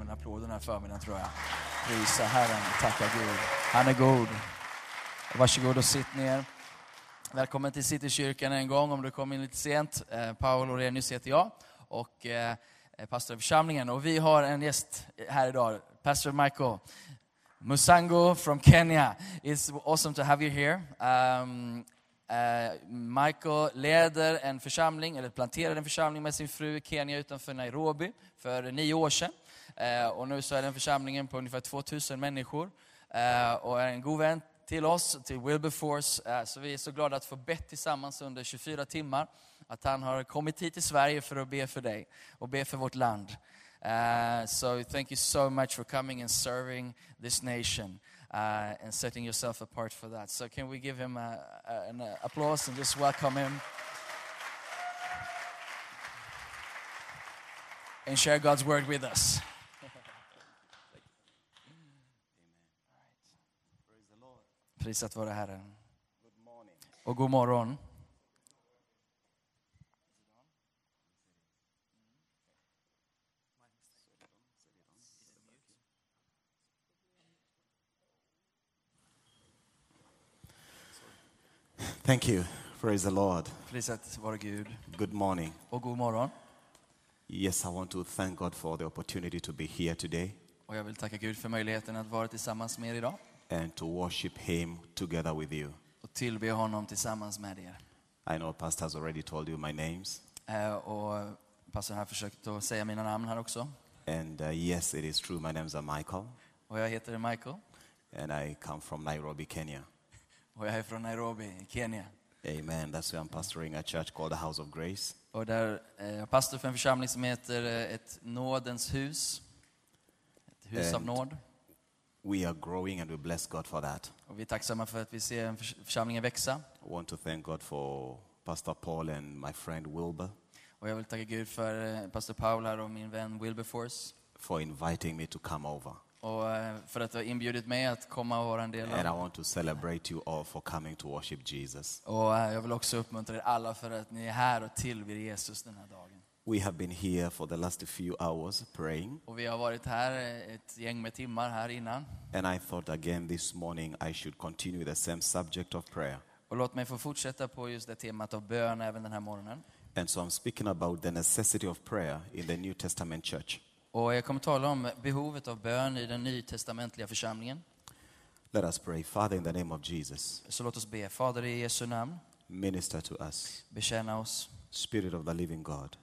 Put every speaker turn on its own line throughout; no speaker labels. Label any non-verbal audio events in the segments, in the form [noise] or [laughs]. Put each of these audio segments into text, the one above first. applåd den här förmiddagen tror jag. Prisa Herren, tacka Gud. Han är god. Varsågod och sitt ner. Välkommen till Citykyrkan en gång om du kom in lite sent. Eh, Paul Orenius heter jag och eh, är pastor i församlingen. Och vi har en gäst här idag, pastor Michael. Musango from Kenya. It's awesome to have you here. Um, eh, Michael leder en församling, eller planterade en församling med sin fru i Kenya utanför Nairobi för nio år sedan. Eh, och nu så är den församlingen på ungefär 2000 människor eh, och är en god vän till oss, till Wilberforce. Eh, så vi är så glada att få bett tillsammans under 24 timmar. Att han har kommit hit till Sverige för att be för dig och be för vårt land. Uh, so thank you so much for coming and serving this nation uh, and setting yourself apart for that. So can we give him a, a, an uh, applause and just welcome him and share God's word with us. [laughs]
Praise the Lord.
Prisat vare Herren.
Good morning.
Och god morgon.
Thank you. Praise the Lord.
Prisat vare Gud.
Good morning.
Och god morgon.
Yes, I want to thank God for the opportunity to be here today
Och jag vill tacka Gud för möjligheten att vara tillsammans med er idag
and to worship Him together with you.
och tillbe honom tillsammans med er.
I know Pastor has already told you my names,
Eh, och pastorn här försökte att säga mina namn här också.
and uh, yes, it is true. My names are Michael,
Och jag heter Michael
and I come from Nairobi, Kenya.
och jag är från Nairobi i Kenya.
Amen. That's where I'm pastoring a church called the House of Grace.
Och där eh, jag är pastor för en församling som heter eh, ett nådens hus. Ett hus av
And-
nåd.
We are growing, and we bless God for that.
Och vi är tacksamma för att vi ser en förs- församlingen växa.
I want to thank God for Pastor Paul and my friend Wilbur
Och jag vill tacka Gud för eh, pastor Paul här och min vän Wilberforce.
for inviting me to come over.
Och eh, för att du har inbjudit mig att komma och vara en del
And I
av.
want to celebrate you all for coming to worship Jesus.
Och eh, jag vill också uppmuntra er alla för att ni är här och tillber Jesus den här dagen.
We have been here for the last few hours praying,
Och vi har varit här eh, ett gäng med timmar här innan.
and I thought again this morning I should continue the same subject of prayer.
Och låt mig få fortsätta på just det temat av bön även den här morgonen.
And so I'm speaking about the necessity of prayer in the New Testament church.
Och jag kommer tala om behovet av bön i den nytestamentliga församlingen.
Let us pray. Father, in the name of Jesus,
Så låt oss be. Fader i Jesu namn,
minister to us.
betjäna oss.
Spirit of the living God,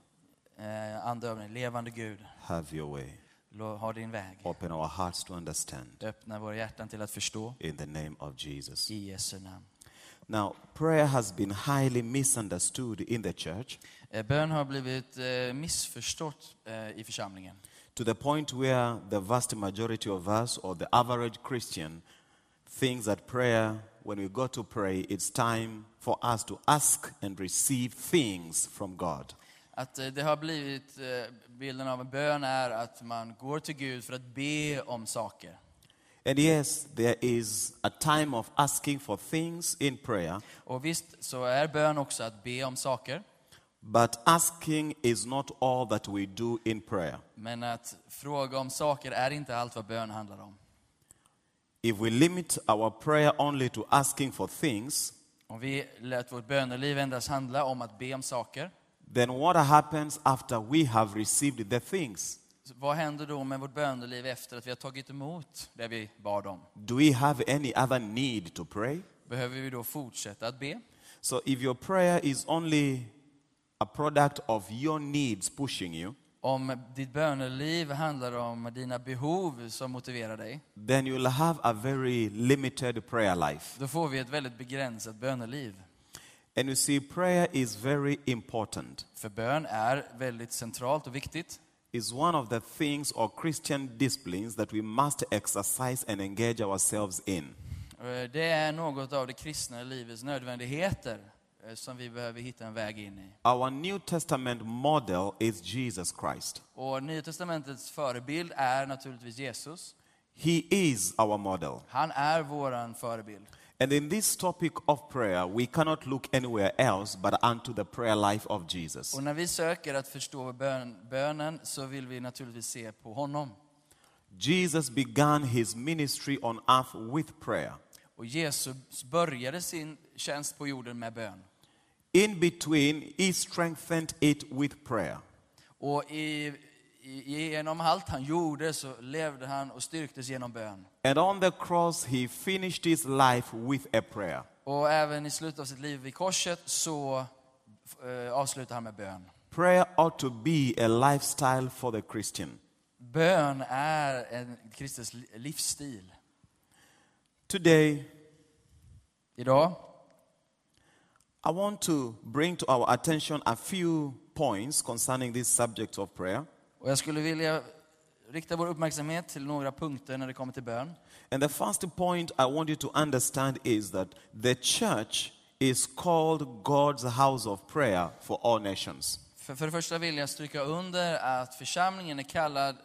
Eh, ande över dig, levande Gud,
have your way.
lo- ha din väg.
Open our hearts to understand
Öppna våra hjärtan till att förstå.
in the name of Jesus.
I Jesu namn.
Now, prayer has been highly misunderstood in the church.
Eh, bön har blivit eh, missförstått eh, i församlingen.
to the point where the vast majority of us or the average Christian thinks that prayer, when we go to pray, it's time for us to ask and receive things from God.
Att eh, det har blivit, eh, bilden av en bön är att man går till Gud för att be om saker.
And yes, there is a time of asking for things in prayer,
Och visst så är bön också att be om saker.
but asking is not all that we do in prayer.
Men att fråga om saker är inte allt vad bön handlar om.
If we limit our prayer only to asking for things,
Om vi lät vårt böneliv endast handla om att be om saker,
then what happens after we have received the things?
så vad händer då med vårt böneliv efter att vi har tagit emot det vi bad om?
Do we have any other need to pray?
Behöver vi då fortsätta att be?
So if your prayer is only a product of your needs pushing you,
Om ditt böneliv handlar om dina behov som motiverar dig,
then you'll have a very limited prayer life.
då får vi ett väldigt begränsat böneliv.
And you see, prayer is very important.
För bön är väldigt centralt och viktigt.
It's one of the things or Christian disciplines that we must exercise and engage ourselves in.
Eh, Det är något av det kristna livets nödvändigheter eh, som vi behöver hitta en väg in i.
Our New Testament model is Jesus Christ.
Och Nya Testamentets förebild är naturligtvis Jesus.
He is our model.
Han är våran förebild.
And in this topic of prayer, we cannot look anywhere else but unto the prayer life of Jesus.
Och när vi söker att förstå bön, bönen så vill vi naturligtvis se på honom.
Jesus began his ministry on earth with prayer.
Och Jesus började sin tjänst på jorden med bön.
In between, he strengthened it with prayer.
Och i, i, genom allt han gjorde så levde han och styrktes genom bön.
And on the cross, he finished his life with a prayer.
Och även i slutet av sitt liv vid korset så eh, avslutar han med bön.
Prayer ought to be a lifestyle for the Christian.
Bön är en kristens li- livsstil.
Today,
Idag
I want to bring to our attention a few points concerning this subject of prayer.
Och jag skulle vilja rikta vår uppmärksamhet till några punkter när det kommer till bön.
And the first point I want you to understand is that the church is called God's house of prayer for all nations.
För, för det första vill jag stryka under att församlingen är kallad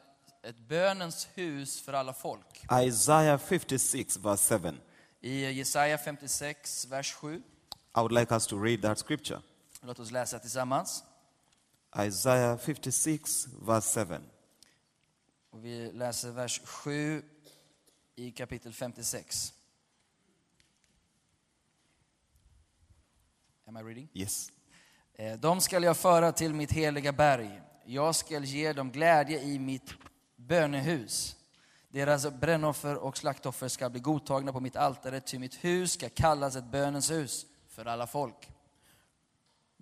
ett bönens hus för alla folk.
Isaiah 56, verse 7.
I Jesaja 56, vers 7.
I would like us to read that scripture.
Låt oss läsa tillsammans.
Isaiah 56, verse 7.
Och vi läser vers 7 i kapitel 56. Am I reading?
Yes.
Eh, Dem skall jag föra till mitt heliga berg. Jag skall ge dem glädje i mitt bönehus. Deras brännoffer och slaktoffer skall bli godtagna på mitt altare, ty mitt hus ska kallas ett bönens hus för alla folk.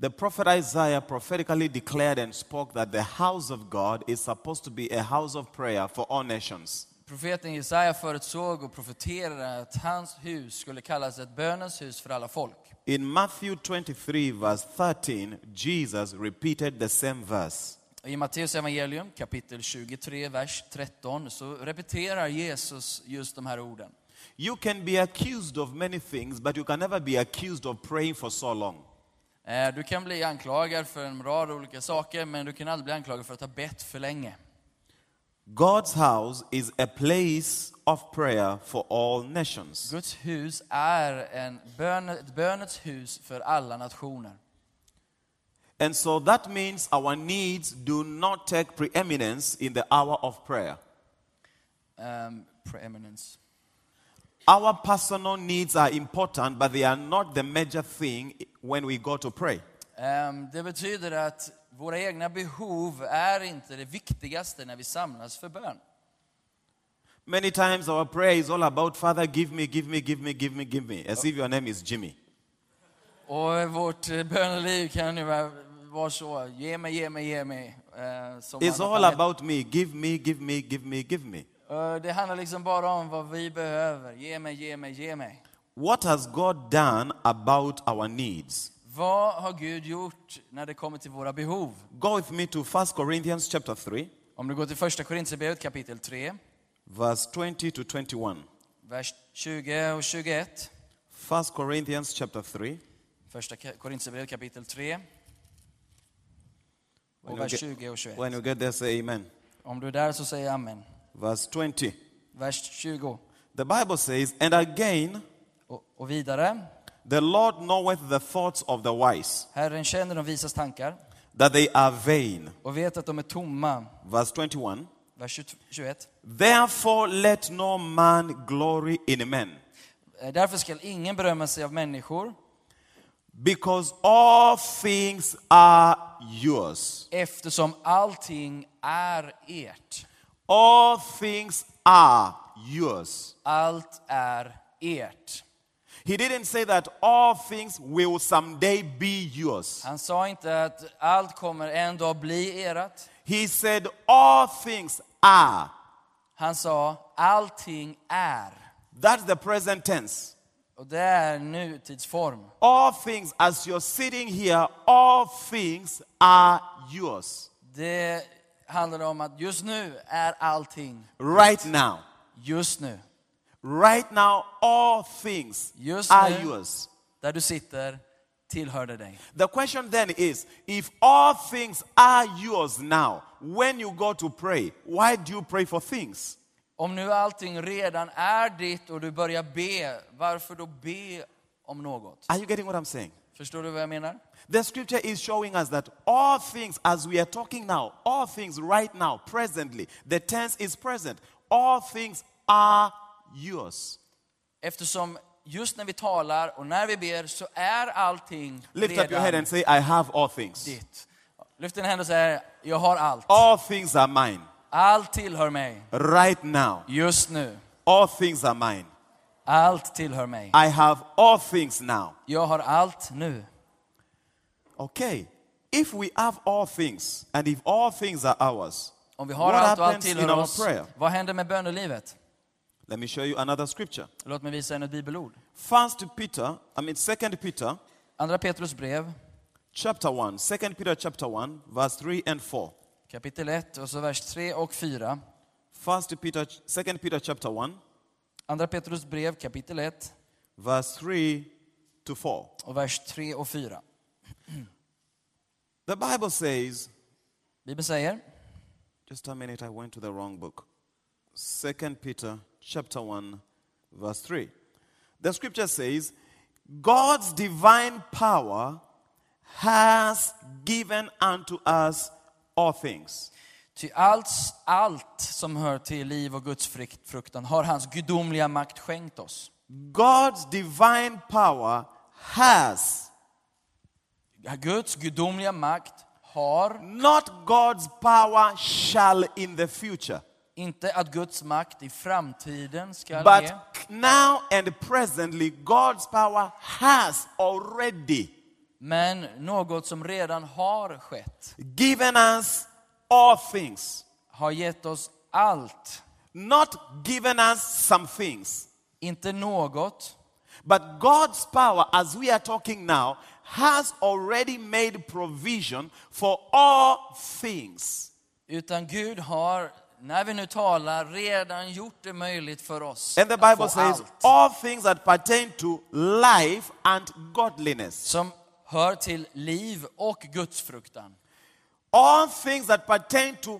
The prophet Isaiah prophetically declared and spoke that the house of God is supposed to be a house of prayer for all nations.
Profeten Jesaja förutsåg och profeterade att hans hus skulle kallas ett bönens hus för alla folk.
In Matthew 23, verse 13, Jesus repeated the same verse.
Och I Matteus evangelium kapitel 23, vers 13, så repeterar Jesus just de här orden.
You can be accused of many things, but you can never be accused of praying for so long.
Eh, Du kan bli anklagad för en rad olika saker, men du kan aldrig bli anklagad för att ha bett för länge.
God's house is a place of prayer for all nations.
Guds hus är en bön, ett bönets hus för alla nationer.
And so that means our needs do not take preeminence in the hour of prayer.
Ehm, preeminence.
Our personal needs are important, but they are not the major thing when we go to pray.
Ehm, det betyder att våra egna behov är inte det viktigaste när vi samlas för bön.
Many times our prayer is all about, Father, give me, give me, give me, give me, give me, as if your name is Jimmy.
Och vårt eh, böneliv kan ju vara- vara så, ge mig, ge mig, ge mig. eh, som
It's
att-
all about me, give me, give me, give me, give me.
Eh, det handlar liksom bara om vad vi behöver. Ge mig, ge mig, ge mig.
What has God done about our needs?
Vad har Gud gjort när det kommer till våra behov?
Go with me to 1 Corinthians chapter 3,
Om du går till första Korintierbrevet kapitel 3,
verse 20 to 21.
vers 20 och 21.
1 Corinthians chapter 3,
Första Korintierbrevet kapitel 3
When
och
you
vers
get-
20 och 21.
when you get there, say amen.
Om du är där så säg amen.
Verse 20.
Vers 20
The Bible says, And again,
och, och vidare.
the Lord knoweth the thoughts of the wise,
Herren känner de visas tankar
that they are vain.
och vet att de är tomma.
Verse 21.
Vers 20 21.
Therefore, let no man glory in men,
Eh, Därför skall ingen berömma sig av människor
because all things are yours.
eftersom allting är ert.
All things are yours.
Allt är ert.
He didn't say that all things will someday be yours.
Han sa inte att allt kommer en dag bli ert.
He said all things are.
Han sa allting är.
That's the present tense.
Och det är nutidsform.
All things, as you're sitting here, all things are yours.
Det handlar om att just nu är allting
Right now.
just nu.
Right now, all things
Just
are
nu.
yours.
Där du sitter tillhörde dig.
The question then is if all things are yours now, when you go to pray, why do you pray for things?
Om nu allting redan är ditt och du börjar be, varför då be om något?
Are you getting what I'm saying?
Förstår du vad jag menar?
The scripture is showing us that all things, as we are talking now, all things right now, presently, the tense is present. all things are yours.
Eftersom just när vi talar och när vi ber så är allting
Lift up your head
redan
and say, I have all things.
ditt. Lyft din hand och säg, jag har allt.
All things are mine.
Allt tillhör mig
Right now,
just nu.
all things are mine.
Allt tillhör mig.
I have all things now.
Jag har allt nu.
Okay. If we have all things, and if all things are ours,
Om vi har
What
allt och allt
happens in
tillhör
our
oss,
prayer?
vad händer med bönelivet?
let me show you another scripture.
Låt mig visa en ett bibelord.
First Peter, I mean Second Peter,
Andra Petrus brev,
chapter one. Second Peter chapter one, verse three and four.
kapitel 1 och så vers 3 och 4.
First Peter, Second Peter chapter one,
Andra Petrus brev kapitel 1
verse three to four.
och vers 3 och 4.
The Bible says,
Bibeln säger,
just a minute, I went to the wrong book. Second Peter chapter one, verse three. The scripture says, God's divine power has given unto us all things.
ty allt, allt som hör till liv och Guds frikt- fruktan har hans gudomliga makt skänkt oss.
God's divine power has,
Guds gudomliga makt har,
not God's power shall in the future,
inte att Guds makt i framtiden ska ge,
but now and presently, God's power has already
men något som redan har skett.
given us all things,
Har gett oss allt,
not given us some things.
inte något,
But God's power, as we are talking now, has already made provision for all things.
utan Gud har, när vi nu talar, redan gjort det möjligt för oss
And the Bible
att få
says,
allt.
all things that pertain to life and godliness,
som hör till liv och gudsfruktan.
all things that pertain to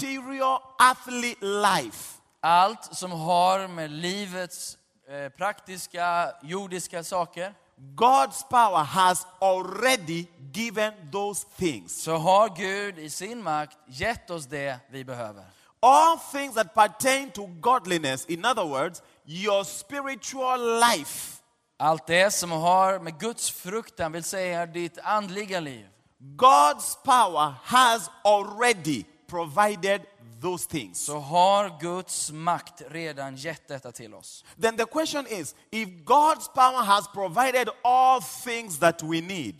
material earthly life,
Allt som har med livets eh, praktiska, jordiska saker,
God's power has already given those things.
så har Gud i sin makt gett oss det vi behöver.
All things that pertain to godliness, in other words, your spiritual life,
Allt det som har med Guds fruktan, vill säga ditt andliga liv.
God's power has already provided those things.
Så har Guds makt redan gett detta till oss.
then the question is if God's power has provided all things that we need,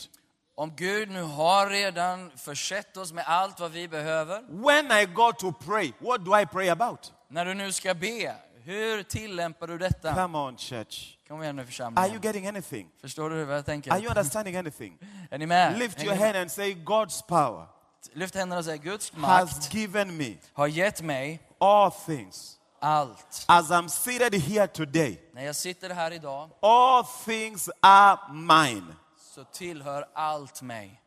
Om Gud nu har redan försett oss med allt vad vi behöver.
when I go to pray, what do I pray about?
När du nu ska be, hur tillämpar du detta?
Come on, church.
Kom igen nu
Are you
församlingen.
getting anything?
Förstår du vad jag
Are you
tänker?
understanding anything?
Är ni med?
Lift
Hänger
your
ni med?
hand and say, God's power
Lyft händerna och säg Guds
has
makt
given me
har gett mig
all things.
allt.
As I'm seated here today,
När jag sitter här idag
all things are mine.
så tillhör allt mig.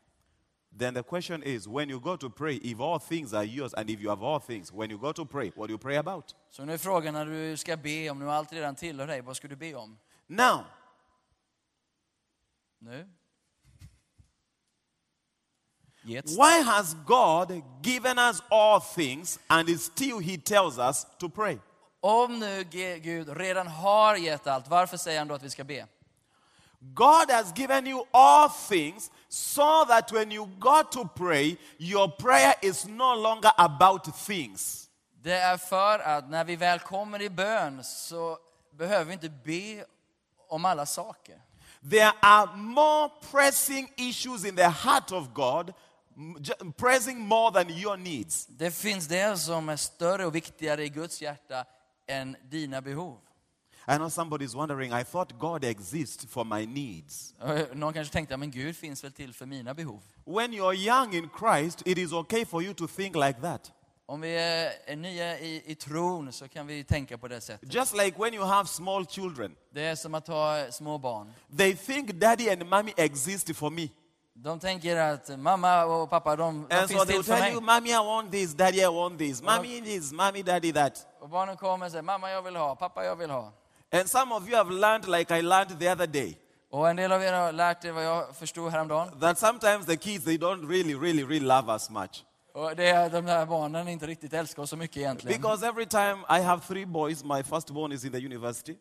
Then the question is when you go to pray, if all things are yours and if you have all things, when you go to pray, what do you pray about?
Så nu är frågan när du ska be, om nu allt redan tillhör dig, vad ska du be om?
Now,
Nu? Getz.
why has God given us all things and it's still He tells us to pray?
Om nu Ge- Gud redan har gett allt, varför säger han då att vi ska be?
God has given you all things so that when you go to pray, your prayer is no longer about things.
Det är för att när vi väl kommer i bön så behöver vi inte be om alla saker.
There are more pressing issues in the heart of God, m- ju- pressing more than your needs.
Det finns det som är större och viktigare i Guds hjärta än dina behov.
I know somebody's wondering, I thought God exists for my needs.
Eh, Någon kanske tänkte, men Gud finns väl till för mina behov?
When you're young in Christ, it is okay for you to think like that.
Om vi är är nya i, i tron så kan vi tänka på det sättet.
Just like when you have small children,
Det är som att ha små barn.
they think daddy and mommy exist for me.
De tänker att mamma och pappa, de, de
And so
finns
they'll
till för
tell you,
mig.
mommy, I want this, daddy, I want this, mommy, this, mommy, daddy, that.
Och barnen kommer och säger, mamma jag vill ha, pappa jag vill ha.
And some of you have learned, like I learned the other day,
Och en del av er har lärt er vad jag förstod häromdagen.
that sometimes the kids, they don't really, really, really love us much.
Och det är de här barnen inte riktigt älskar oss så mycket egentligen.
Because every time I have three boys, my firstborn is in the university,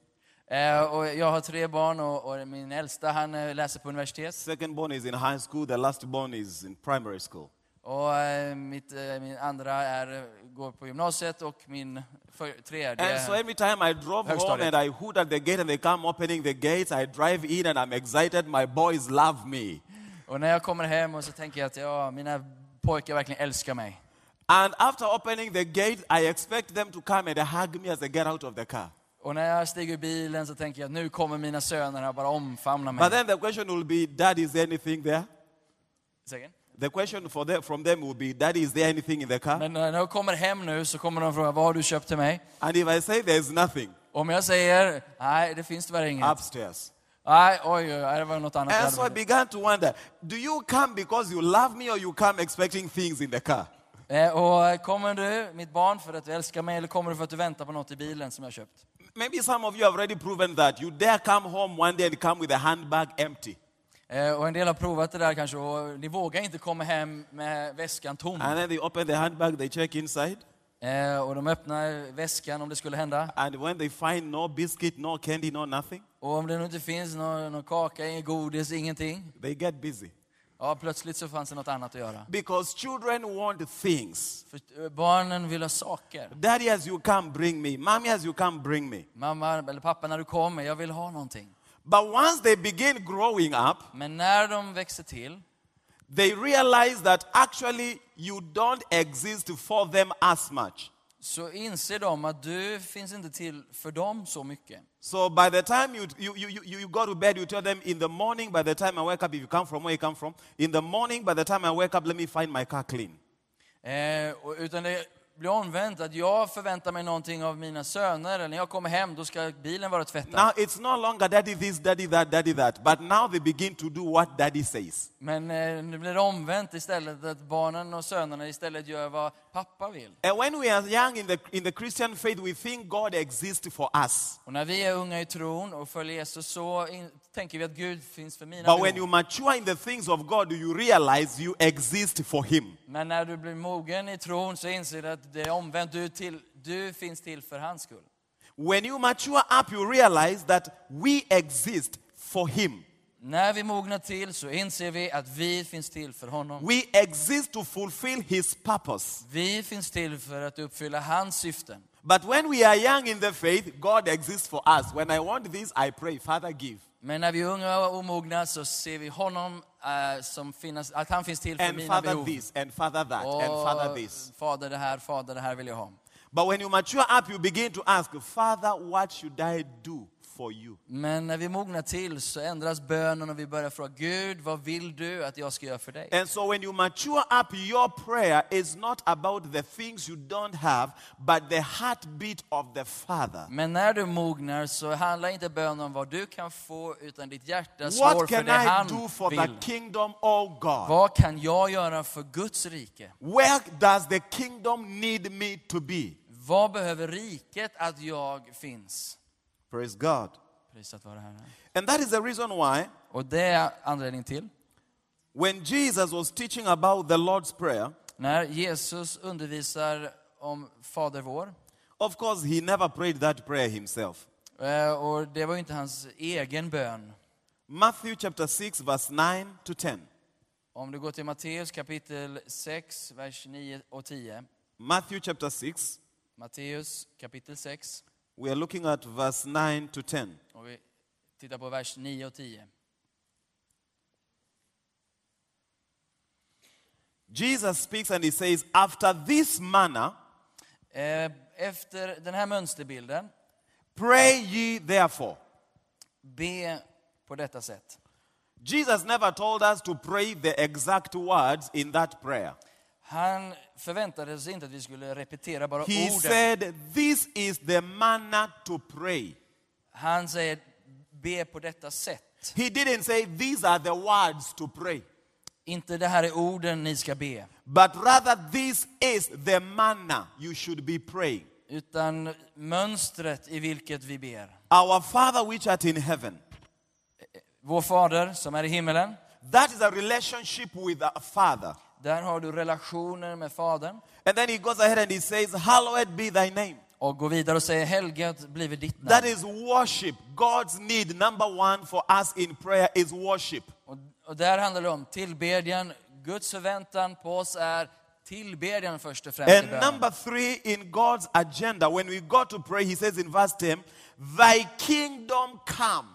Eh, och jag har tre barn och, och min äldsta han eh, läser på universitet.
secondborn is in high school, the lastborn is in primary school.
Och eh, mitt, eh, min andra är, går på gymnasiet och min för, tredje...
And so every time I drove
Very
home
started.
and I hoot at the gate and they come opening the gates, I drive in and I'm excited. My boys love me.
Och när jag kommer hem och så tänker jag att ja, mina pojkar verkligen älskar mig.
And after opening the gate, I expect them to come and hug me as I get out of the car.
Och när jag stiger ur bilen så tänker jag att nu kommer mina söner här bara omfamna mig.
But then the question will be, Dad, is there anything there?
Säkert.
The question for them, from them will be, Daddy, is there anything in the car?
Men när jag kommer hem nu så kommer de fråga vad har du köpt till mig?
And if I say there's nothing,
Om jag säger nej, det finns tyvärr inget.
upstairs.
Nej, oj, oj, oj, det var något annat. jag
And
hade
so I
varit.
began to wonder, do you come because you love me or you come expecting things in the car?
Eh, Och kommer du, mitt barn, för att du älskar mig eller kommer du för att du väntar på något i bilen som jag har köpt?
Maybe some of you have already proven that. You dare come home one day and come with a handbag empty.
Eh, Och en del har provat det där kanske och ni vågar inte komma hem med väskan tom.
And then they open the handbag, they check inside.
Eh, Och de öppnar väskan om det skulle hända.
And when they find no biscuit, no candy, no nothing,
Och om det nu inte finns någon, någon kaka, ingen godis, ingenting.
they get busy.
Ja, plötsligt så fanns det något annat att göra.
Because children want things.
För eh, barnen vill ha saker.
Daddy, as you come, bring me. Mommy, as you come, bring me.
Mamma eller pappa, när du kommer, jag vill ha någonting.
But once they begin growing up,
Men när de växer till
they realize that actually you don't exist for them as much.
så inser de att du finns inte till för dem så mycket.
So by the time you, you, you, you, you go to bed, you tell them in the morning, by the time I wake up, if you come from where you come from, in the morning, by the time I wake up, let me find my car clean.
Eh, och- utan det blir omvänt, att jag förväntar mig någonting av mina söner, eller när jag kommer hem, då ska bilen vara tvättad.
Now it's no longer daddy this, daddy that, daddy that, but now they begin to do what daddy says.
Men eh, nu blir det omvänt istället, att barnen och sönerna istället gör vad pappa vill.
And when we are young in the, in the Christian faith, we think God exists for us.
Och när vi är unga i tron och följer Jesus så in, tänker vi att Gud finns för mina
But when you
behov.
mature in the things of God, you realize you exist for Him.
Men när du blir mogen i tron så inser du att det är omvänt. Du, är till, du finns till för hans skull.
When you mature up, you realize that we exist for Him.
När vi mognar till så inser vi att vi finns till för honom.
We exist to fulfill His purpose.
Vi finns till för att uppfylla hans syften.
But when we are young in the faith, God exists for us. When I want this, I pray, Father, give.
Men när vi är unga och omogna så ser vi honom eh, som finnas, att han finns till för
And
mina
Father,
behov.
this, and Father, that,
Och,
and Father, this.
Fader det här, Fader det här vill jag ha.
But when you mature up, you begin to ask, Father, what should I do for you?
Men när vi mognar till så ändras bönen och vi börjar fråga Gud, vad vill du att jag ska göra för dig?
And so when you mature up, your prayer is not about the things you don't have, but the heartbeat of the Father.
Men när du mognar så handlar inte bönen om vad du kan få utan ditt hjärta slår
What
för
can
det
I
han
do for the
vill.
kingdom, oh God?
Vad kan jag göra för Guds rike?
Where does the kingdom need me to be?
Vad behöver riket att jag finns?
Praise God.
Prisat vare Herren.
And that is the reason why
Och det är anledningen till.
when Jesus was teaching about the Lord's Prayer,
När Jesus undervisar om Fader vår,
of course, he never prayed that prayer himself.
eh, och det var ju inte hans egen bön.
Matthew chapter 6, verse 9 to 10.
Om du går till Matteus kapitel 6, vers 9 och 10.
Matthew chapter 6,
Matteus kapitel 6,
we are looking at verse 9 to 10.
och vi tittar på vers 9 och 10.
Jesus speaks and he says, After this manner,
Eh, Efter den här mönsterbilden,
pray ye therefore.
be på detta sätt.
Jesus never told us to pray the exact words in that prayer.
Han förväntade sig inte att vi skulle repetera bara
He
orden.
said, This is the manner to pray.
Han säger be på detta sätt.
He didn't say, These are the words to pray,
Inte det här är orden ni ska be,
but rather, This is the manner you should be praying.
utan mönstret i vilket vi ber.
Our Father which art in heaven.
Vår Fader som är i himmelen,
That is a relationship with a Father.
Där har du relationer med Fadern.
And then he goes ahead and he says, Hallowed be thy name.
Och går vidare och säger helgat blive ditt namn.
That is worship. God's need, number one for us in prayer, is worship.
Och, och där handlar det om tillbedjan. Guds förväntan på oss är tillbedjan först och främst i
And
bönen.
number three in God's agenda, when we go to pray, he says in verse 10, Thy kingdom come.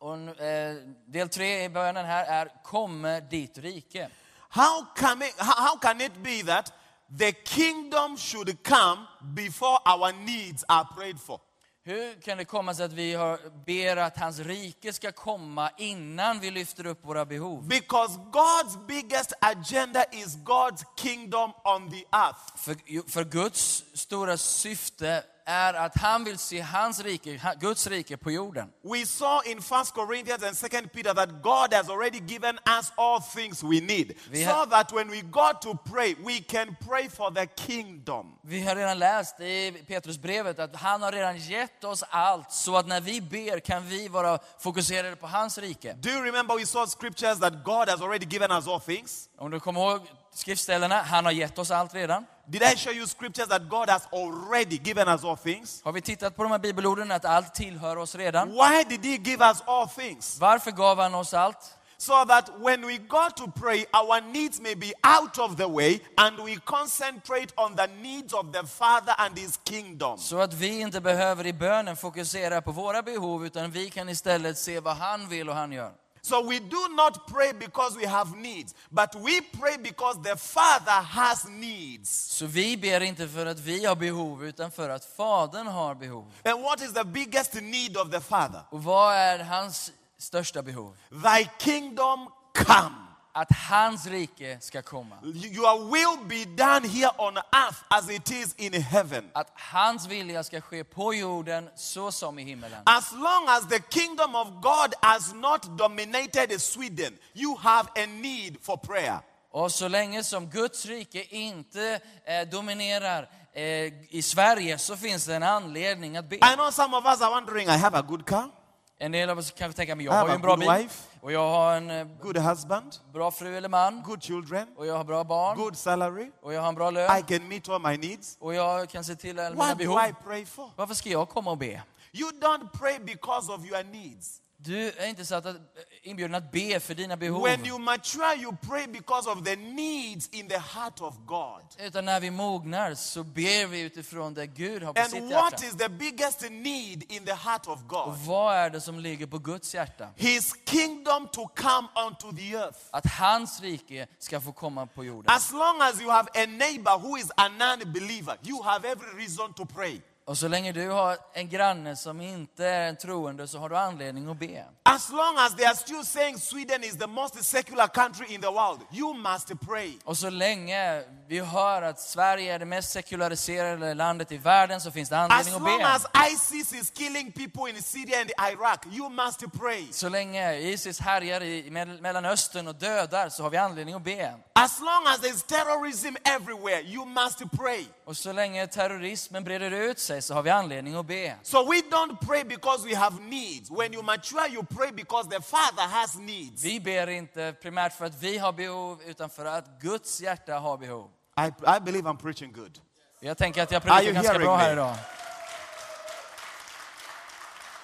Och, eh, del tre i bönen här är Komme ditt rike.
How can, it, how how can it be that the kingdom should come before our needs are prayed for?
Hur kan det komma sig att vi har, ber att hans rike ska komma innan vi lyfter upp våra behov?
Because God's biggest agenda is God's kingdom on the earth.
För, för Guds stora syfte är att han vill se hans rike, ha- Guds rike på jorden.
We saw in 1 Corinthians and 2 Peter that God has already given us all things we need.
We
so
ha-
that when we go to pray, we can pray for the kingdom.
Vi har redan läst i Petrusbrevet att han har redan gett oss allt så att när vi ber kan vi vara fokuserade på hans rike.
Do you remember we saw scriptures that God has already given us all things?
Om du kommer ihåg skriftställena, han har gett oss allt redan.
Did I show you scriptures that God has already given us all things?
Har vi tittat på de här bibelorden att allt tillhör oss redan?
Why did He give us all things?
Varför gav han oss allt?
So that when we go to pray, our needs may be out of the way and we concentrate on the needs of the Father and His kingdom.
Så att vi inte behöver i bönen fokusera på våra behov utan vi kan istället se vad han vill och han gör.
So we do not pray because we have needs, but we pray because the Father has needs.
Så vi ber inte för att vi har behov utan för att Fadern har behov.
And what is the biggest need of the Father?
Och vad är hans största behov?
Thy kingdom come.
Att hans rike ska komma.
Your will be done here on earth as it is in heaven.
Att hans vilja ska ske på jorden så som i himmelen.
As long as the kingdom of God has not dominated Sweden, you have a need for prayer.
Och så länge som Guds rike inte eh, dominerar eh, i Sverige så finns det en anledning att be.
I know some of us are wondering I have a good car,
En del av oss kanske tänker, men jag
I
har
have
ju
a
en bra
good
bil.
wife.
Och jag har en eh,
good husband,
bra fru eller man.
good children,
Och jag har bra barn.
good salary.
Och jag har en bra
I
lön.
can meet all my needs.
Och jag kan se till alla mina
What do I
behov.
pray for?
Varför ska jag komma och be?
You don't pray because of your needs.
Du är inte satt att, eh, inbjuden att be för dina behov.
When you mature, you pray because of the needs in the heart of God.
Utan när vi mognar så ber vi utifrån det Gud har på
And
sitt
what
hjärta.
is the biggest need in the heart of God?
Och vad är det som ligger på Guds hjärta?
His kingdom to come onto the earth.
Att hans rike ska få komma på jorden.
As long as you have a neighbor who is an unbeliever, you have every reason to pray.
Och så länge du har en granne som inte är en troende så har du anledning att be.
As long as they are still saying Sweden is the most secular country in the world, you must pray.
Och så länge vi hör att Sverige är det mest sekulariserade landet i världen så finns det anledning
As
att
long
be.
as ISIS is killing people in Syria and Iraq, you must pray.
Så länge Isis härjar i Mell- Mellanöstern och dödar så har vi anledning att be.
As long as there's terrorism everywhere, you must pray.
Och så länge terrorismen breder ut sig så har vi anledning att be.
So we don't pray because we have needs. When you mature, you pray because the Father has needs.
Vi ber inte primärt för att vi har behov utan för att Guds hjärta har behov.
I, I believe I'm preaching good.
Jag tänker att jag
Are
predikar
you
ganska
hearing
bra
me?
här idag.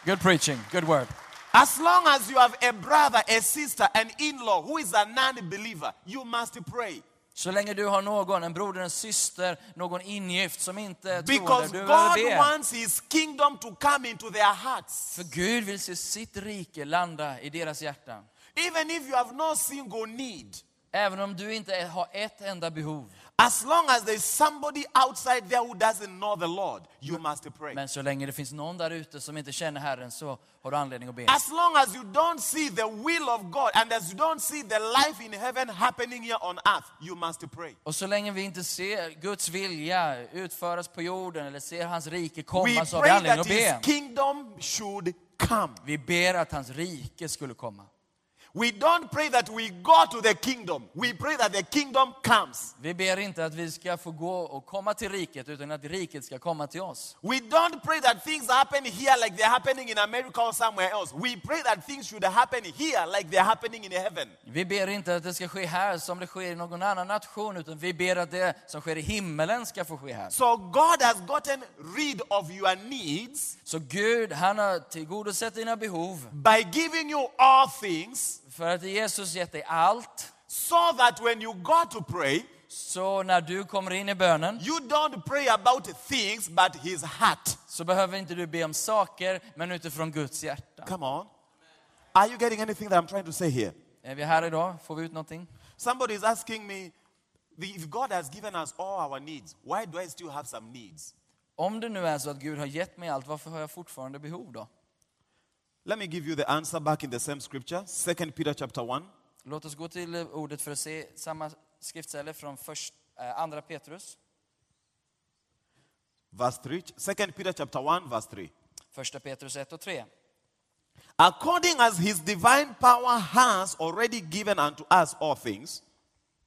Good preaching, good word.
As long as you have a brother, a sister, an in law who is a non believer, you must pray.
Så länge du har någon, en broder, en syster, någon ingift som inte är troende,
Because
du behöver
God
be.
wants His kingdom to come into their hearts.
För Gud vill se sitt rike landa i deras hjärtan.
Even if you have no single need,
Även om du inte har ett enda behov.
as long as there's somebody outside there who doesn't know the Lord, you must pray.
Men så länge det finns någon där ute som inte känner Herren så har du anledning att be.
As long as you don't see the will of God and as you don't see the life in heaven happening here on earth, you must pray.
Och så länge vi inte ser Guds vilja utföras på jorden eller ser hans rike
We
komma så har vi
pray
anledning
that
att
His
be.
kingdom should come.
Vi ber att hans rike skulle komma.
We don't pray that we go to the kingdom. We pray that the kingdom comes.
Vi ber inte att vi ska få gå och komma till riket, utan att riket ska komma till oss.
We don't pray that things happen here like they're happening in America or somewhere else. We pray that things should happen here like they're happening in heaven.
Vi ber inte att det ska ske här som det sker i någon annan nation, utan vi ber att det som sker i himmelen ska få ske här.
So God has gotten rid of your needs
Så Gud, han har tillgodosett dina behov
by giving you all things
för att Jesus gett dig allt.
so that when you go to pray,
Så när du kommer in i bönen
you don't pray about things but his heart.
så behöver inte du be om saker, men utifrån Guds hjärta.
Come on. Are you getting anything that I'm trying to say here?
Är vi här idag? Får vi ut någonting?
Somebody is asking me, "The- if God has given us all our needs, why do I still have some needs?
Om det nu är så att Gud har gett mig allt, varför har jag fortfarande behov då?
Let me give you the answer back in the same scripture, 2 Peter chapter 1.
Låt oss gå till eh, ordet för att se samma skriftställe från först, eh, andra Petrus.
Verse 3, 2 Peter chapter 1, verse 3.
Första Petrus 1 och 3.
According as his divine power has already given unto us all things,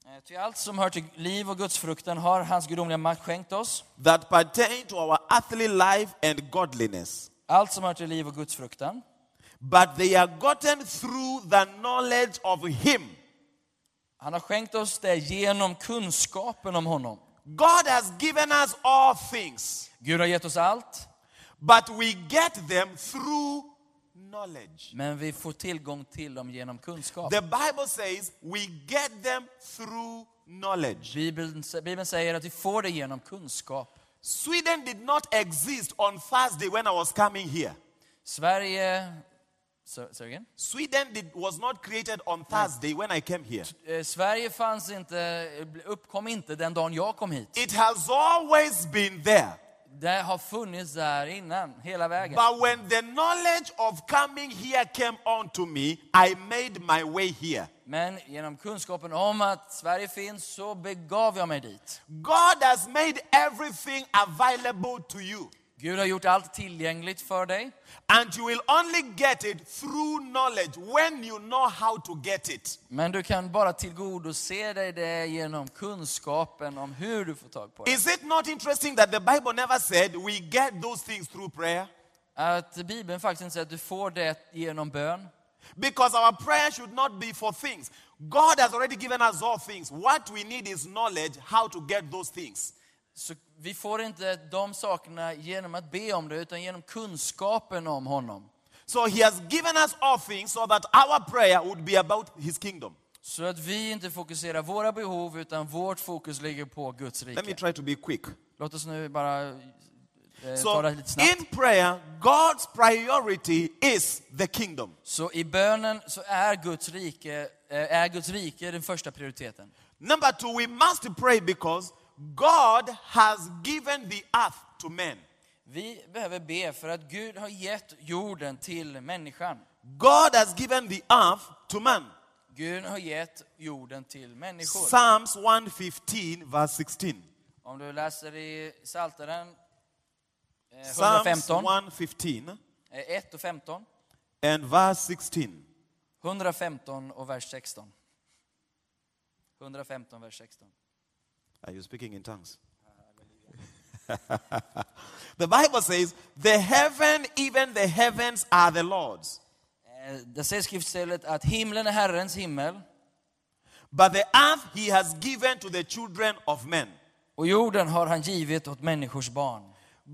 Eh, Ty allt som hör till liv och gudsfruktan har hans gudomliga makt skänkt oss.
that pertain to our earthly life and godliness.
Allt som hör till liv och gudsfruktan.
But they are gotten through the knowledge of him.
Han har skänkt oss det genom kunskapen om honom.
God has given us all things,
Gud har gett oss allt,
but we get them through knowledge.
men vi får tillgång till dem genom kunskap.
The Bible says we get them through knowledge.
Bibeln, Bibeln säger att vi får det genom kunskap.
Sweden did not exist on Thursday when I was coming here.
Sverige... So, sorry again?
Sweden did, was not created on Thursday when I came here.
Eh, Sverige fanns inte, uppkom inte den dagen jag kom hit.
It has always been there.
Det har funnits där innan, hela vägen.
But when the knowledge of coming here came on to me, I made my way here.
Men genom kunskapen om att Sverige finns så begav jag mig dit.
God has made everything available to you.
Gud har gjort allt tillgängligt för dig.
And you will only get it through knowledge when you know how to get it.
Men du kan bara tillgodose dig det genom kunskapen om hur du får tag på det.
Is it not interesting that the Bible never said we get those things through prayer?
Att Bibeln faktiskt inte säger att du får det genom bön.
Because our prayer should not be for things. God has already given us all things. What we need is knowledge how to get those things.
Så vi får inte de sakerna genom att be om det, utan genom kunskapen om honom.
So he has given us all things so that our prayer would be about his kingdom.
Så att vi inte fokuserar våra behov, utan vårt fokus ligger på Guds
Let me
rike.
try to be quick.
Låt oss nu bara eh, ta
So
det lite snabbt.
in prayer, God's priority is the kingdom.
Så i bönen så är Guds rike, eh, är Guds rike den första prioriteten.
Number two, we must pray because God has given the earth to men.
Vi behöver be för att Gud har gett jorden till människan.
God has given the earth to man.
Gud har gett jorden till människor.
Psalms 115, verse 16.
Om du läser i Psaltaren eh,
Psalms
115,
115
eh, 1 och 15.
and verse 16.
115 och vers 16. 115, vers 16.
Are you speaking in tongues? [laughs] the Bible says, The heaven, even the heavens, are the Lord's,
Eh, Där säger skriftstället att himlen är Herrens himmel
but the earth he has given to the children of men.
och jorden har han givit åt människors barn.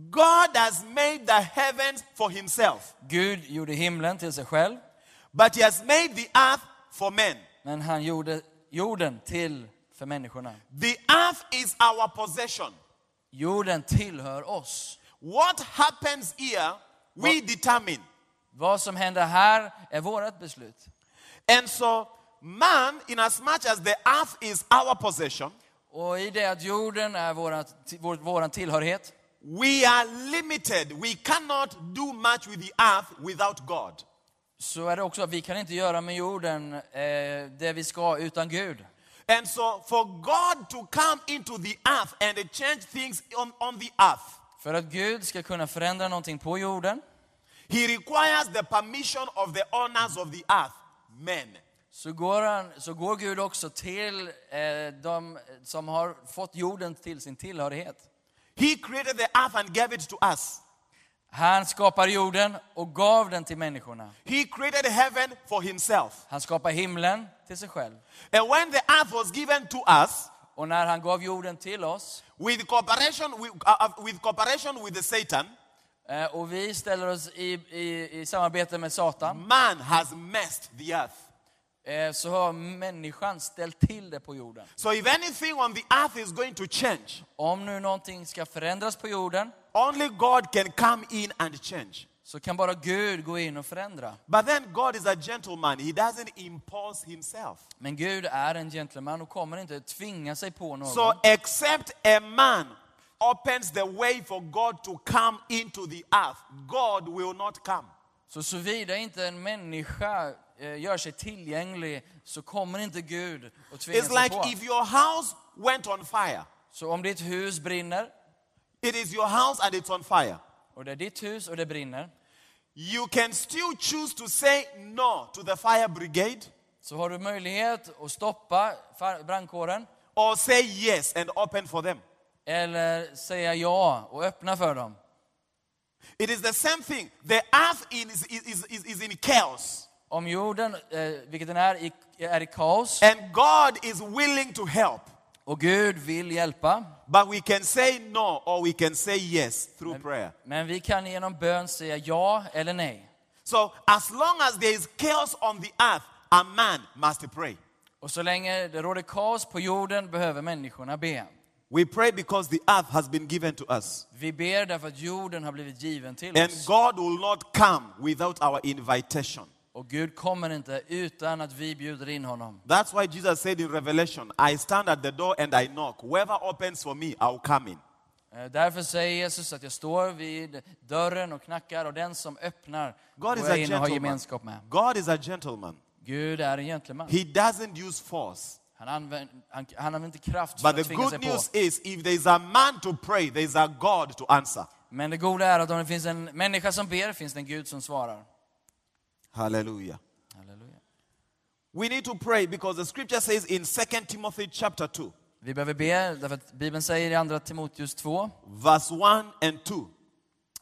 God has made the heavens for himself,
Gud gjorde himlen till sig själv,
but he has made the earth for men.
men han gjorde jorden till för människorna.
The earth is our possession.
Jorden tillhör oss.
What happens here, we determine.
Vad som händer här är vårt beslut.
And so, man, in as much as the earth is our possession,
Och i det att jorden är våran, vår, våran tillhörighet
we are limited. We cannot do much with the earth without God.
så är det också att vi kan inte göra med jorden eh, det vi ska utan Gud.
And so, for God to come into the earth and change things on, on the earth,
För att Gud ska kunna förändra någonting på jorden
He requires the permission of the owners of the earth, men.
så går, han, så går Gud också till eh, de som har fått jorden till sin tillhörighet.
He created the earth and gave it to us.
Han skapar jorden och gav den till människorna.
He created heaven for himself.
Han skapar himlen till sig själv.
And when the earth was given to us,
Och när han gav jorden till oss
with cooperation with, uh, uh, with cooperation with the Satan,
eh, och vi ställer oss i, i, i samarbete med Satan
man has messed the earth.
eh, så har människan ställt till det på jorden.
So if anything on the earth is going to change,
Om nu någonting ska förändras på jorden
only God can come in and change.
så kan bara Gud gå in och förändra.
But then God is a gentleman. He doesn't impose himself.
Men Gud är en gentleman och kommer inte tvinga sig på någon.
So except a man opens the way for God to come into the earth, God will not come.
Så såvida inte en människa eh, gör sig tillgänglig så kommer inte Gud att tvinga
It's
sig
like
på.
if your house went on fire.
Så om ditt hus brinner,
It is your house and it's on fire.
och det är ditt hus och det brinner,
You can still choose to say no to the fire brigade
så har du möjlighet att stoppa far- brandkåren
or say yes and open for them.
eller säga ja och öppna för dem.
It is the same thing. The earth in- is, is, is, is in chaos,
Om jorden, eh, vilket den är, i, är i kaos
and God is willing to help.
och Gud vill hjälpa,
But we can say no or we can say yes through prayer.
men vi kan genom bön säga ja eller nej.
So, as long as there is chaos on the earth, a man must pray.
Och så länge det råder kaos på jorden behöver människorna be.
We pray because the earth has been given to us.
Vi ber därför att jorden har blivit given till
And
oss.
God will not come without our invitation.
Och Gud kommer inte utan att vi bjuder in honom.
That's why Jesus said in Revelation, I stand at the door and I knock. Whoever opens for me, I'll come in.
Eh, Därför säger Jesus att jag står vid dörren och knackar och den som öppnar går
God is
jag
a
in och har
gentleman.
gemenskap med.
God is a gentleman.
Gud är en gentleman.
He doesn't use force.
Han, använder, han, han använder inte kraft för
But the
att tvinga sig
good
på.
news is, if there is a man to pray, there is a God to answer.
Men det goda är att om det finns en människa som ber finns det en Gud som svarar.
Hallelujah.
Halleluja.
We need to pray because the scripture says in 2 Timothy chapter 2,
Vi behöver be, därför att Bibeln säger i Andra Timoteus 2,
verse 1 and 2,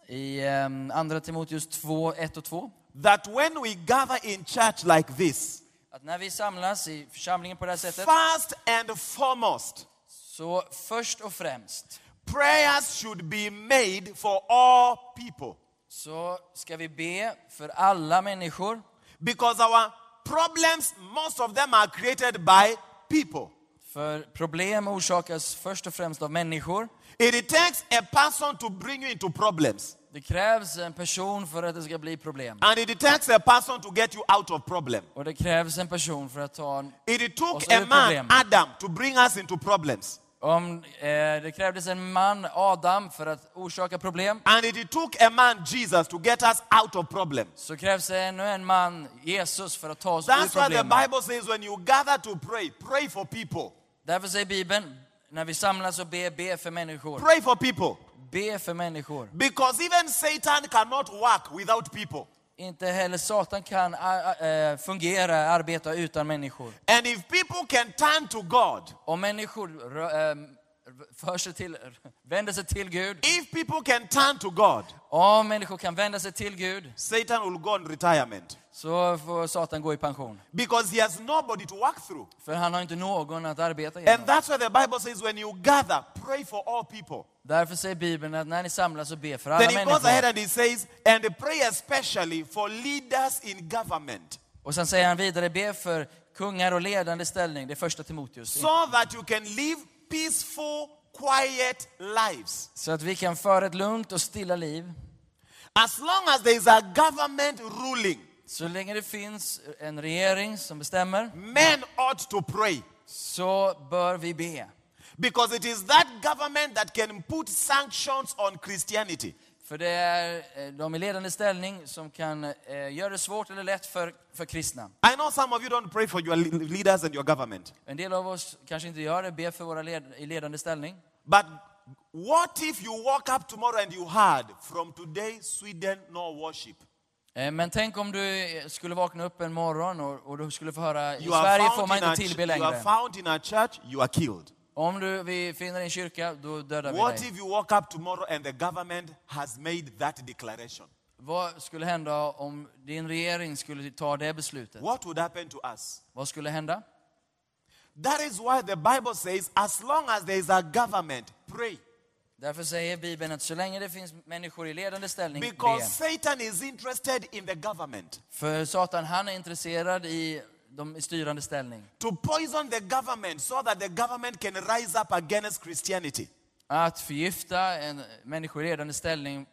i eh, Andra Timoteus 2, 1 och 2,
that when we gather in church like this,
att när vi samlas i församlingen på det här sättet,
first and foremost,
så först och främst
prayers should be made for all people.
så ska vi be för alla människor.
Because our problems, most of them are created by people.
För problem orsakas först och främst av människor.
It takes a person to bring you into problems,
Det krävs en person för att det ska bli problem.
and it takes a person to get you out of problem.
Och det krävs en person för att ta en...
It
Och
took
så är
a
det
man,
problem.
Adam, to bring us into problems,
Om, eh, det krävdes en man, Adam, för att orsaka problem.
and it took a man, Jesus, to get us out of problems.
Så krävs det ännu en man, Jesus, för att ta oss ur
That's why the
problemen.
Bible says when you gather to pray, pray for people.
Därför säger Bibeln, när vi samlas och ber, be för människor.
Pray for people.
Be för människor.
Because even Satan cannot work without people.
Inte heller Satan kan ä, ä, eh, fungera, arbeta utan människor.
And if people can turn to God,
Om människor rö- ehm, för sig till, vänder sig till Gud,
if people can turn to God,
om människor kan vända sig till Gud,
Satan will go on retirement
så får Satan gå i pension.
because he has nobody to work through.
För han har inte någon att arbeta
And
genom.
that's why the Bible says when you gather, pray for all people.
Därför säger Bibeln att när ni samlas och ber för alla
Then he goes ahead
människor.
and he says, and pray especially for leaders in government
Och sen säger han vidare, be för kungar och ledande ställning. Det är första Timoteus.
so that you can live peaceful, quiet lives.
Så att vi kan föra ett lugnt och stilla liv.
As long as there is a government ruling,
Så länge det finns en regering som bestämmer,
men ought to pray
så bör vi be.
because it is that government that can put sanctions on Christianity.
För det är eh, de i ledande ställning som kan eh, göra det svårt eller lätt för, för kristna.
I know some of you don't pray for your le- leaders and your government,
En del av oss kanske inte gör det, ber för våra led, i ledande ställning.
but what if you woke up tomorrow and you heard from today Sweden no worship?
Eh, Men tänk om du skulle vakna upp en morgon och, och du skulle få höra, i
You are,
Sverige får
found
man
in a
inte
ch-
tillbe
you are
längre.
found in a church, you are killed.
Om du, vi finner en kyrka, då dödar vi
What
dig.
if you woke up tomorrow and the government has made that declaration?
Vad skulle hända om din regering skulle ta det beslutet?
What would happen to us?
Vad skulle hända?
That is why the Bible says, as long as there is a government, pray.
Därför säger Bibeln att så länge det finns människor i ledande ställning, be.
Because Satan is interested in the government.
För Satan, han är intresserad i de i styrande ställning.
To poison the government so that the government can rise up against Christianity.
Att förgifta en, människor i ledande ställning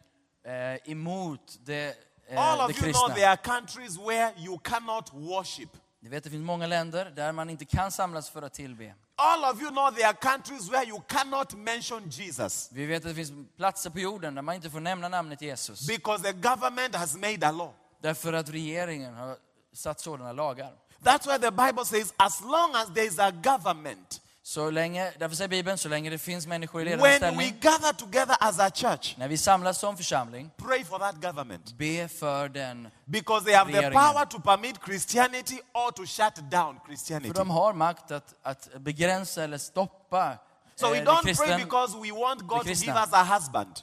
eh, emot det,
All
eh, det
of you know
kristna.
there are countries where you cannot worship.
Ni vet, det finns många länder där man inte kan samlas för att tillbe.
All of you know there are countries where you cannot mention Jesus
Vi vet att det finns platser på jorden där man inte får nämna namnet Jesus.
because the government has made a law.
Därför att regeringen har satt sådana lagar.
That's why the Bible says, as long as there is a government,
Så länge, därför säger Bibeln, så länge det finns människor i ledande
when we
ställning,
gather together as a church,
när vi samlas som församling,
pray for that government
be för den.
because they have the
Regeringen.
power to permit Christianity or to shut down Christianity.
För de har makt att, att begränsa eller stoppa eh,
So we
det
don't pray
kristen-
because we want God to
Krishna.
give us a husband.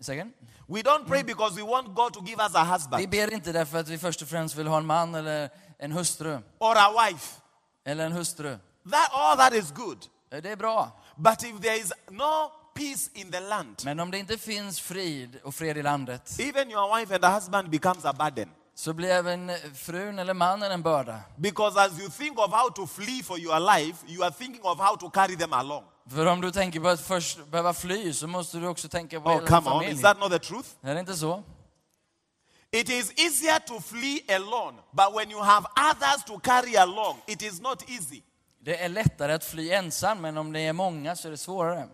Second.
We don't pray because we want God to give us a
Vi
husband
ber inte därför att vi först och främst vill ha en man eller en hustru.
or a wife.
Eller en hustru.
That all that is good.
Eh, Det är bra.
But if there is no peace in the land,
Men om det inte finns frid och fred i landet,
even your wife and husband becomes a burden.
så blir även frun eller mannen en börda.
Because as you think of how to flee for your life, you are thinking of how to carry them along.
För om du tänker på att först behöva fly så måste du också tänka på
Oh,
hela din
come on. Is
familj.
that not the truth?
Är det inte så?
It is easier to flee alone, but when you have others to carry along, it is not easy.
Det är lättare att fly ensam, men om det är många så är det svårare.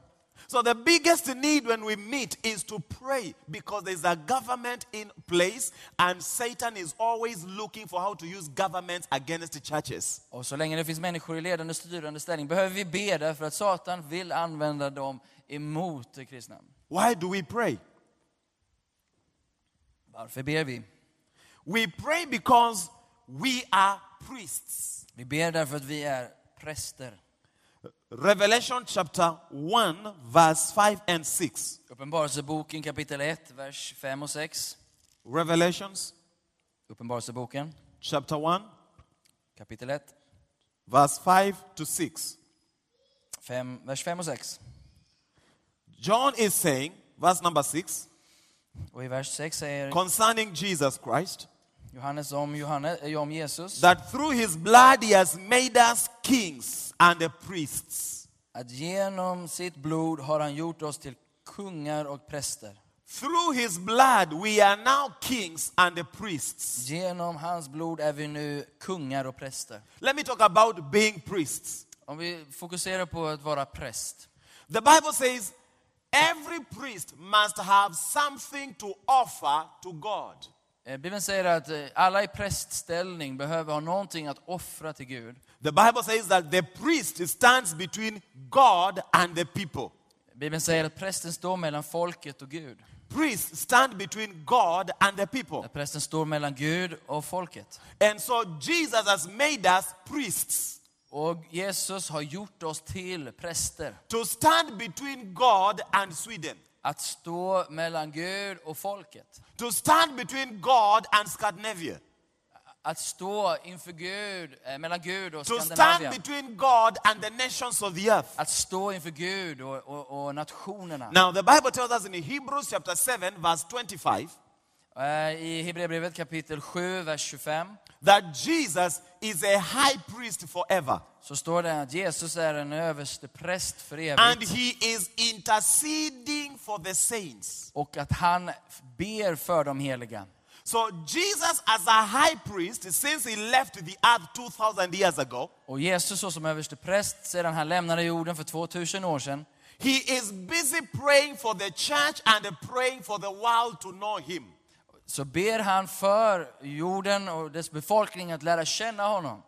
So the biggest need when we meet is to pray because there's a government in place and Satan is always looking for how to use governments against churches.
Och så länge det finns människor i ledande och styrande ställning behöver vi be därför att Satan vill använda dem emot det kristna.
Why do we pray?
Varför ber vi?
We pray because we are priests.
Vi ber därför att vi är präster.
Revelation chapter 1 verse 5 and 6.
Uppenbarelseboken kapitel 1, vers 5 och 6.
Revelations
Uppenbarelseboken
chapter 1
kapitel 1,
verse 5 to 6.
fem, vers 5 och 6.
John is saying, verse number 6,
Och i vers 6 säger
concerning Jesus Christ,
Johannes om, Johannes, eh, om Jesus
that through his blood he has made us kings and priests.
att genom sitt blod har han gjort oss till kungar och präster.
Through his blood we are now kings and priests.
Genom hans blod är vi nu kungar och präster.
Let me talk about being priests.
Om vi fokuserar på att vara präst.
The Bible says every priest must have something to offer to God.
Eh, Bibeln säger att eh, alla i prästställning behöver ha någonting att offra till Gud.
The Bible says that the priest stands between God and the people.
Bibeln säger att prästen står mellan folket och Gud.
Priests stand between God and the people.
Att prästen står mellan Gud och folket.
And so Jesus has made us priests
Och Jesus har gjort oss till präster.
to stand between God and Sweden,
Att stå mellan Gud och folket.
to stand between God and Scandinavia,
Att stå inför Gud, eh, mellan Gud och
to stand
Skandinavien.
between God and the nations of the earth.
Att stå inför Gud och, och, och nationerna.
Now, the Bible tells us in Hebrews chapter 7, verse 25,
Eh, I Hebreerbrevet kapitel 7, vers 25,
that Jesus is a high priest forever,
så står det att Jesus är en överste präst för
and
evigt
he is interceding for the saints.
och att han ber för de heliga.
So, Jesus, as a high priest, since he left the earth 2,000 years ago,
Och Jesus såsom överste präst sedan han lämnade jorden för 2000 år sedan,
He is busy praying for the church and praying for the world to know him.
så ber han för jorden och dess befolkning att lära känna honom.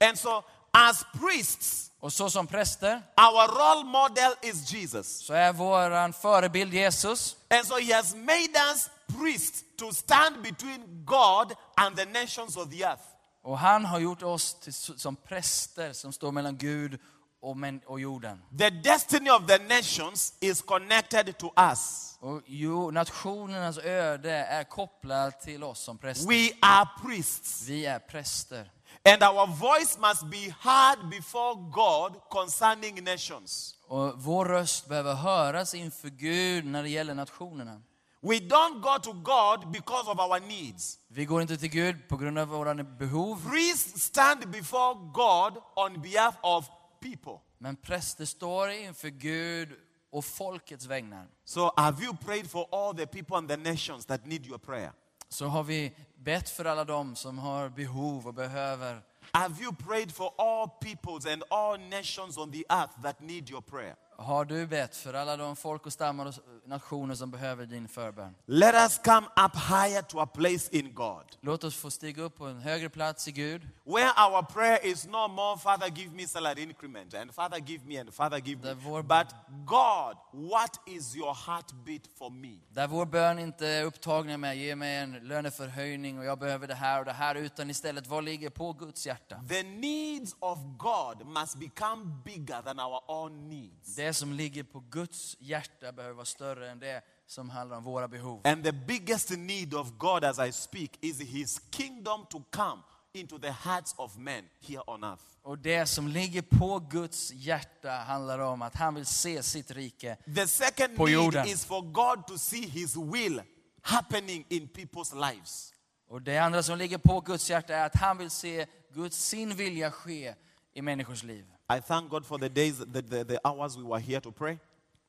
And so, as priests,
Och så som präster
our role model is Jesus.
så är våran förebild Jesus.
And so he has made us priests to stand between God and the nations of the earth.
Och han har gjort oss till, som präster som står mellan Gud och, män, och jorden.
The destiny of the nations is connected to us.
Och jo, nationernas öde är kopplat till oss som präster.
We are priests.
Vi är präster.
And our voice must be heard before God concerning nations.
Och vår röst behöver höras inför Gud när det gäller nationerna.
We don't go to God because of our needs.
Vi går inte till Gud på grund av våra behov,
Priests stand before God on behalf of people.
men präster står inför Gud och folkets vägnar.
So, have you prayed for all the people and the nations that need your prayer?
Så har vi bett för alla dem som har behov och behöver.
Have you prayed for all peoples and all nations on the earth that need your prayer?
Har du bett för alla de folk och stammar och nationer som behöver din förbön?
Let us come up higher to a place in God
Låt oss få stiga upp på en högre plats i Gud.
where our prayer is no more, Father, give me salary increment, and Father, give me, and Father, give me.
The verb-
But God, what is your heartbeat for me?
Där vår bön inte är upptagen med ge mig en löneförhöjning och jag behöver det här och det här, utan istället vad ligger på Guds hjärta?
The needs of God must become bigger than our own needs.
Det som ligger på Guds hjärta behöver vara större än det som handlar om våra behov.
And the biggest need of God as I speak is his kingdom to come into the hearts of men here on earth.
Och det som ligger på Guds hjärta handlar om att han vill se sitt rike.
The second
På
need
jorden.
is for God to see His will happening in people's lives.
Och det andra som ligger på Guds hjärta är att han vill se Guds sin vilja ske i människors liv.
I thank God for the days, the, the, the hours we were here to pray,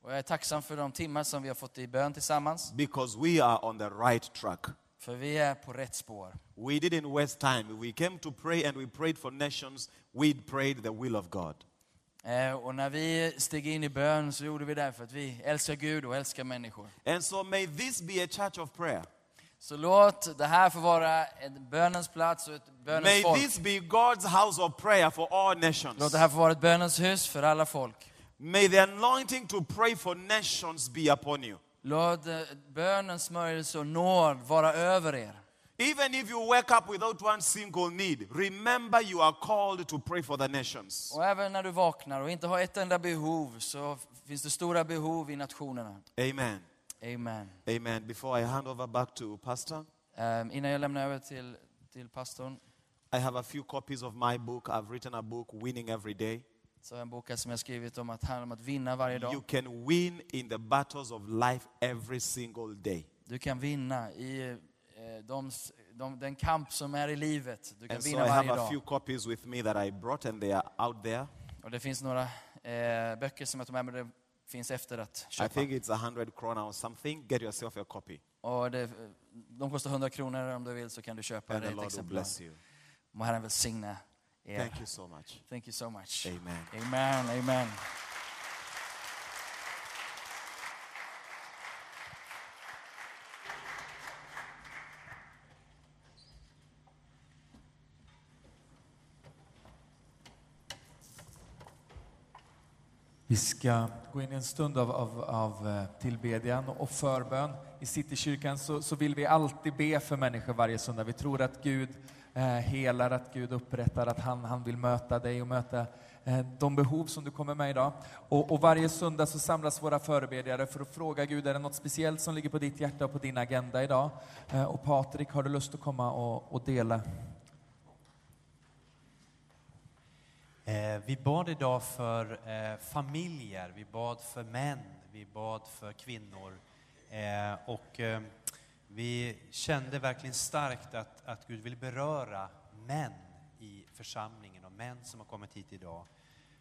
Och jag är tacksam för de timmar som vi har fått i bön tillsammans,
because we are on the right track.
för vi är på rätt spår.
We didn't waste time. We came to pray and we prayed for nations. We prayed the will of God.
Eh, Och när vi steg in i bön så gjorde vi det för att vi älskar Gud och älskar människor.
And so may this be a church of prayer.
Så låt det här få vara en bönens plats och ett bönens
May
folk.
this be God's house of prayer for all nations.
Låt det här få vara ett bönens hus för alla folk.
May the anointing to pray for nations be upon you.
Låt eh, bönens smörjelse och nåd vara över er.
Even if you wake up without one single need, remember you are called to pray for the nations.
Och även när du vaknar och inte har ett enda behov så finns det stora behov i nationerna.
Amen.
Amen.
Amen. Before I hand over back to Pastor,
Eh, Innan jag lämnar över till, till pastorn
I have a few copies of my book. I've written a book, Winning Every Day.
så har jag en bok här som jag skrivit om att handla om att vinna varje
You
dag.
can win in the battles of life every single day.
Du kan vinna i eh, de, de, den kamp som är i livet. Du kan
And so
vinna
I have
varje
a few
dag.
copies with me that I brought, and they are out there.
Och det finns några eh, böcker som jag tog med mig. Det finns efter att
I
köpa.
think it's a 100 krona or something. Get yourself a copy,
Och det, de kostar 100 kronor om du vill så kan du köpa
and
det
the
ett
Lord will
exemplar.
bless you.
Må Herren välsigna er.
Thank you so much.
Thank you so much.
Amen.
Amen, amen.
Vi ska gå in i en stund av, av, av eh, tillbedjan och förbön. I Citykyrkan så, så vill vi alltid be för människor varje söndag. Vi tror att Gud eh, helar, att Gud upprättar, att han, han vill möta dig och möta eh, de behov som du kommer med idag. Och, och varje söndag så samlas våra förebedjare för att fråga Gud, är det något speciellt som ligger på ditt hjärta och på din agenda idag? Eh, och Patrik, har du lust att komma och, och dela?
Eh, Vi bad idag för eh, familjer, vi bad för män, vi bad för kvinnor. Eh, Och eh, vi kände verkligen starkt att, att Gud vill beröra män i församlingen och män som har kommit hit idag.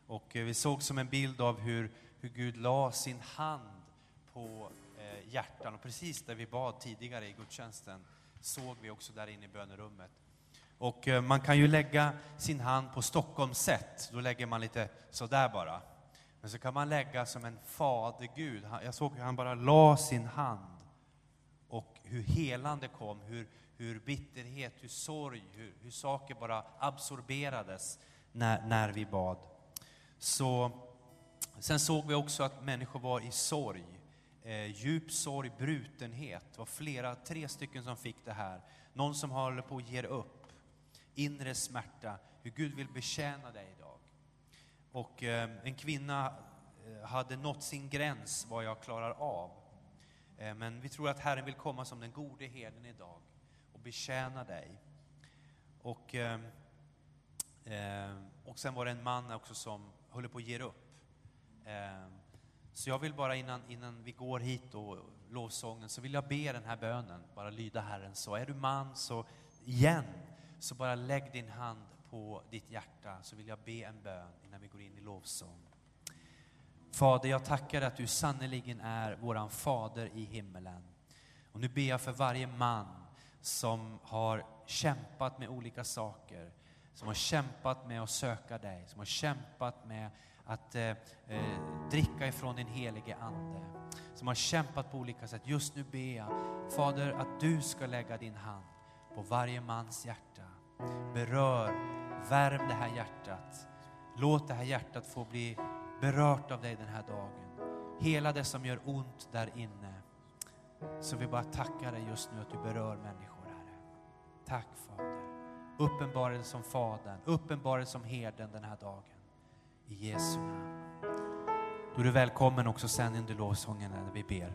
Och eh, vi såg som en bild av hur, hur Gud la sin hand på eh, hjärtan och precis där vi bad tidigare i gudstjänsten såg vi också där inne i bönerummet. Och eh, man kan ju lägga sin hand på Stockholms sätt. Då lägger man lite sådär bara. Men så kan man lägga som en fadergud. Han- Jag såg hur han bara la sin hand. Och hur helande kom, hur, hur bitterhet, hur sorg, hur, hur saker bara absorberades när, när vi bad. Så, sen såg vi också att människor var i sorg, eh, djup sorg, brutenhet. Det var flera, tre stycken som fick det här. Någon som håller på att ge upp, inre smärta, hur Gud vill betjäna dig idag. Och eh, en kvinna eh, hade nått sin gräns vad jag klarar av. Eh, men vi tror att Herren vill komma som den gode herden idag och betjäna dig. Och, eh, eh, och sen var det en man också som höll på att ge upp. Eh, så jag vill bara innan, innan vi går hit och lovsången så vill jag be den här bönen, bara lyda Herren. Så är du man så igen, så bara lägg din hand på ditt hjärta så vill jag be en bön innan vi går in i lovsång. Fader, jag tackar att du sannerligen är våran fader i himmelen. Och nu ber jag för varje man som har kämpat med olika saker, som har kämpat med att söka dig, som har kämpat med att eh, eh, dricka ifrån din helige Ande, som har kämpat på olika sätt. Just nu ber jag, Fader, att du ska lägga din hand på varje mans hjärta. Berör, värm det här hjärtat. Låt det här hjärtat få bli berört av dig den här dagen. Hela det som gör ont där inne. Så vi bara tackar dig just nu att du berör människor, Herre. Tack Fader. Uppenbara dig som Fadern, uppenbara dig som herden den här dagen. I Jesu namn. Då är du välkommen också sen under lovsången när vi ber.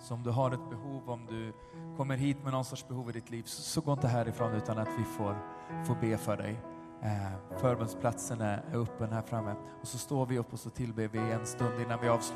Så om du har ett behov, om du kommer hit med någon sorts behov i ditt liv, så, så gå inte härifrån utan att vi får, får be för dig. Eh, förbundsplatsen är är öppen här framme. Och så står vi upp och så tillber vi en stund innan vi avslutar.